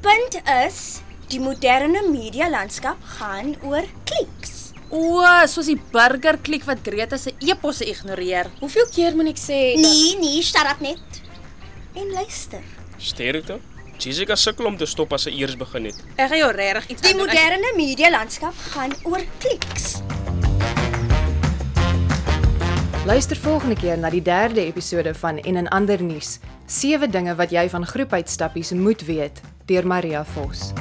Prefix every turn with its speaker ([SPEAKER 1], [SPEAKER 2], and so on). [SPEAKER 1] punt is, die moderne media landskap gaan oor kliks.
[SPEAKER 2] O, soos die burger kliek wat Greta se eposse ignoreer.
[SPEAKER 3] Hoeveel keer moet ek sê dat
[SPEAKER 1] Nee, nee, shut up net. En luister.
[SPEAKER 4] Sterkte. Jessica sukkel om te stop as sy eers begin het.
[SPEAKER 2] Ek gaan jou regtig iets
[SPEAKER 1] Die
[SPEAKER 2] aan doen. Ek-
[SPEAKER 1] moderne media landskap gaan oor kliks.
[SPEAKER 5] Luister volgende keer na die derde episode van En 'n ander nuus: Sewe dinge wat jy van groepuitstappies moet weet deur Maria Vos.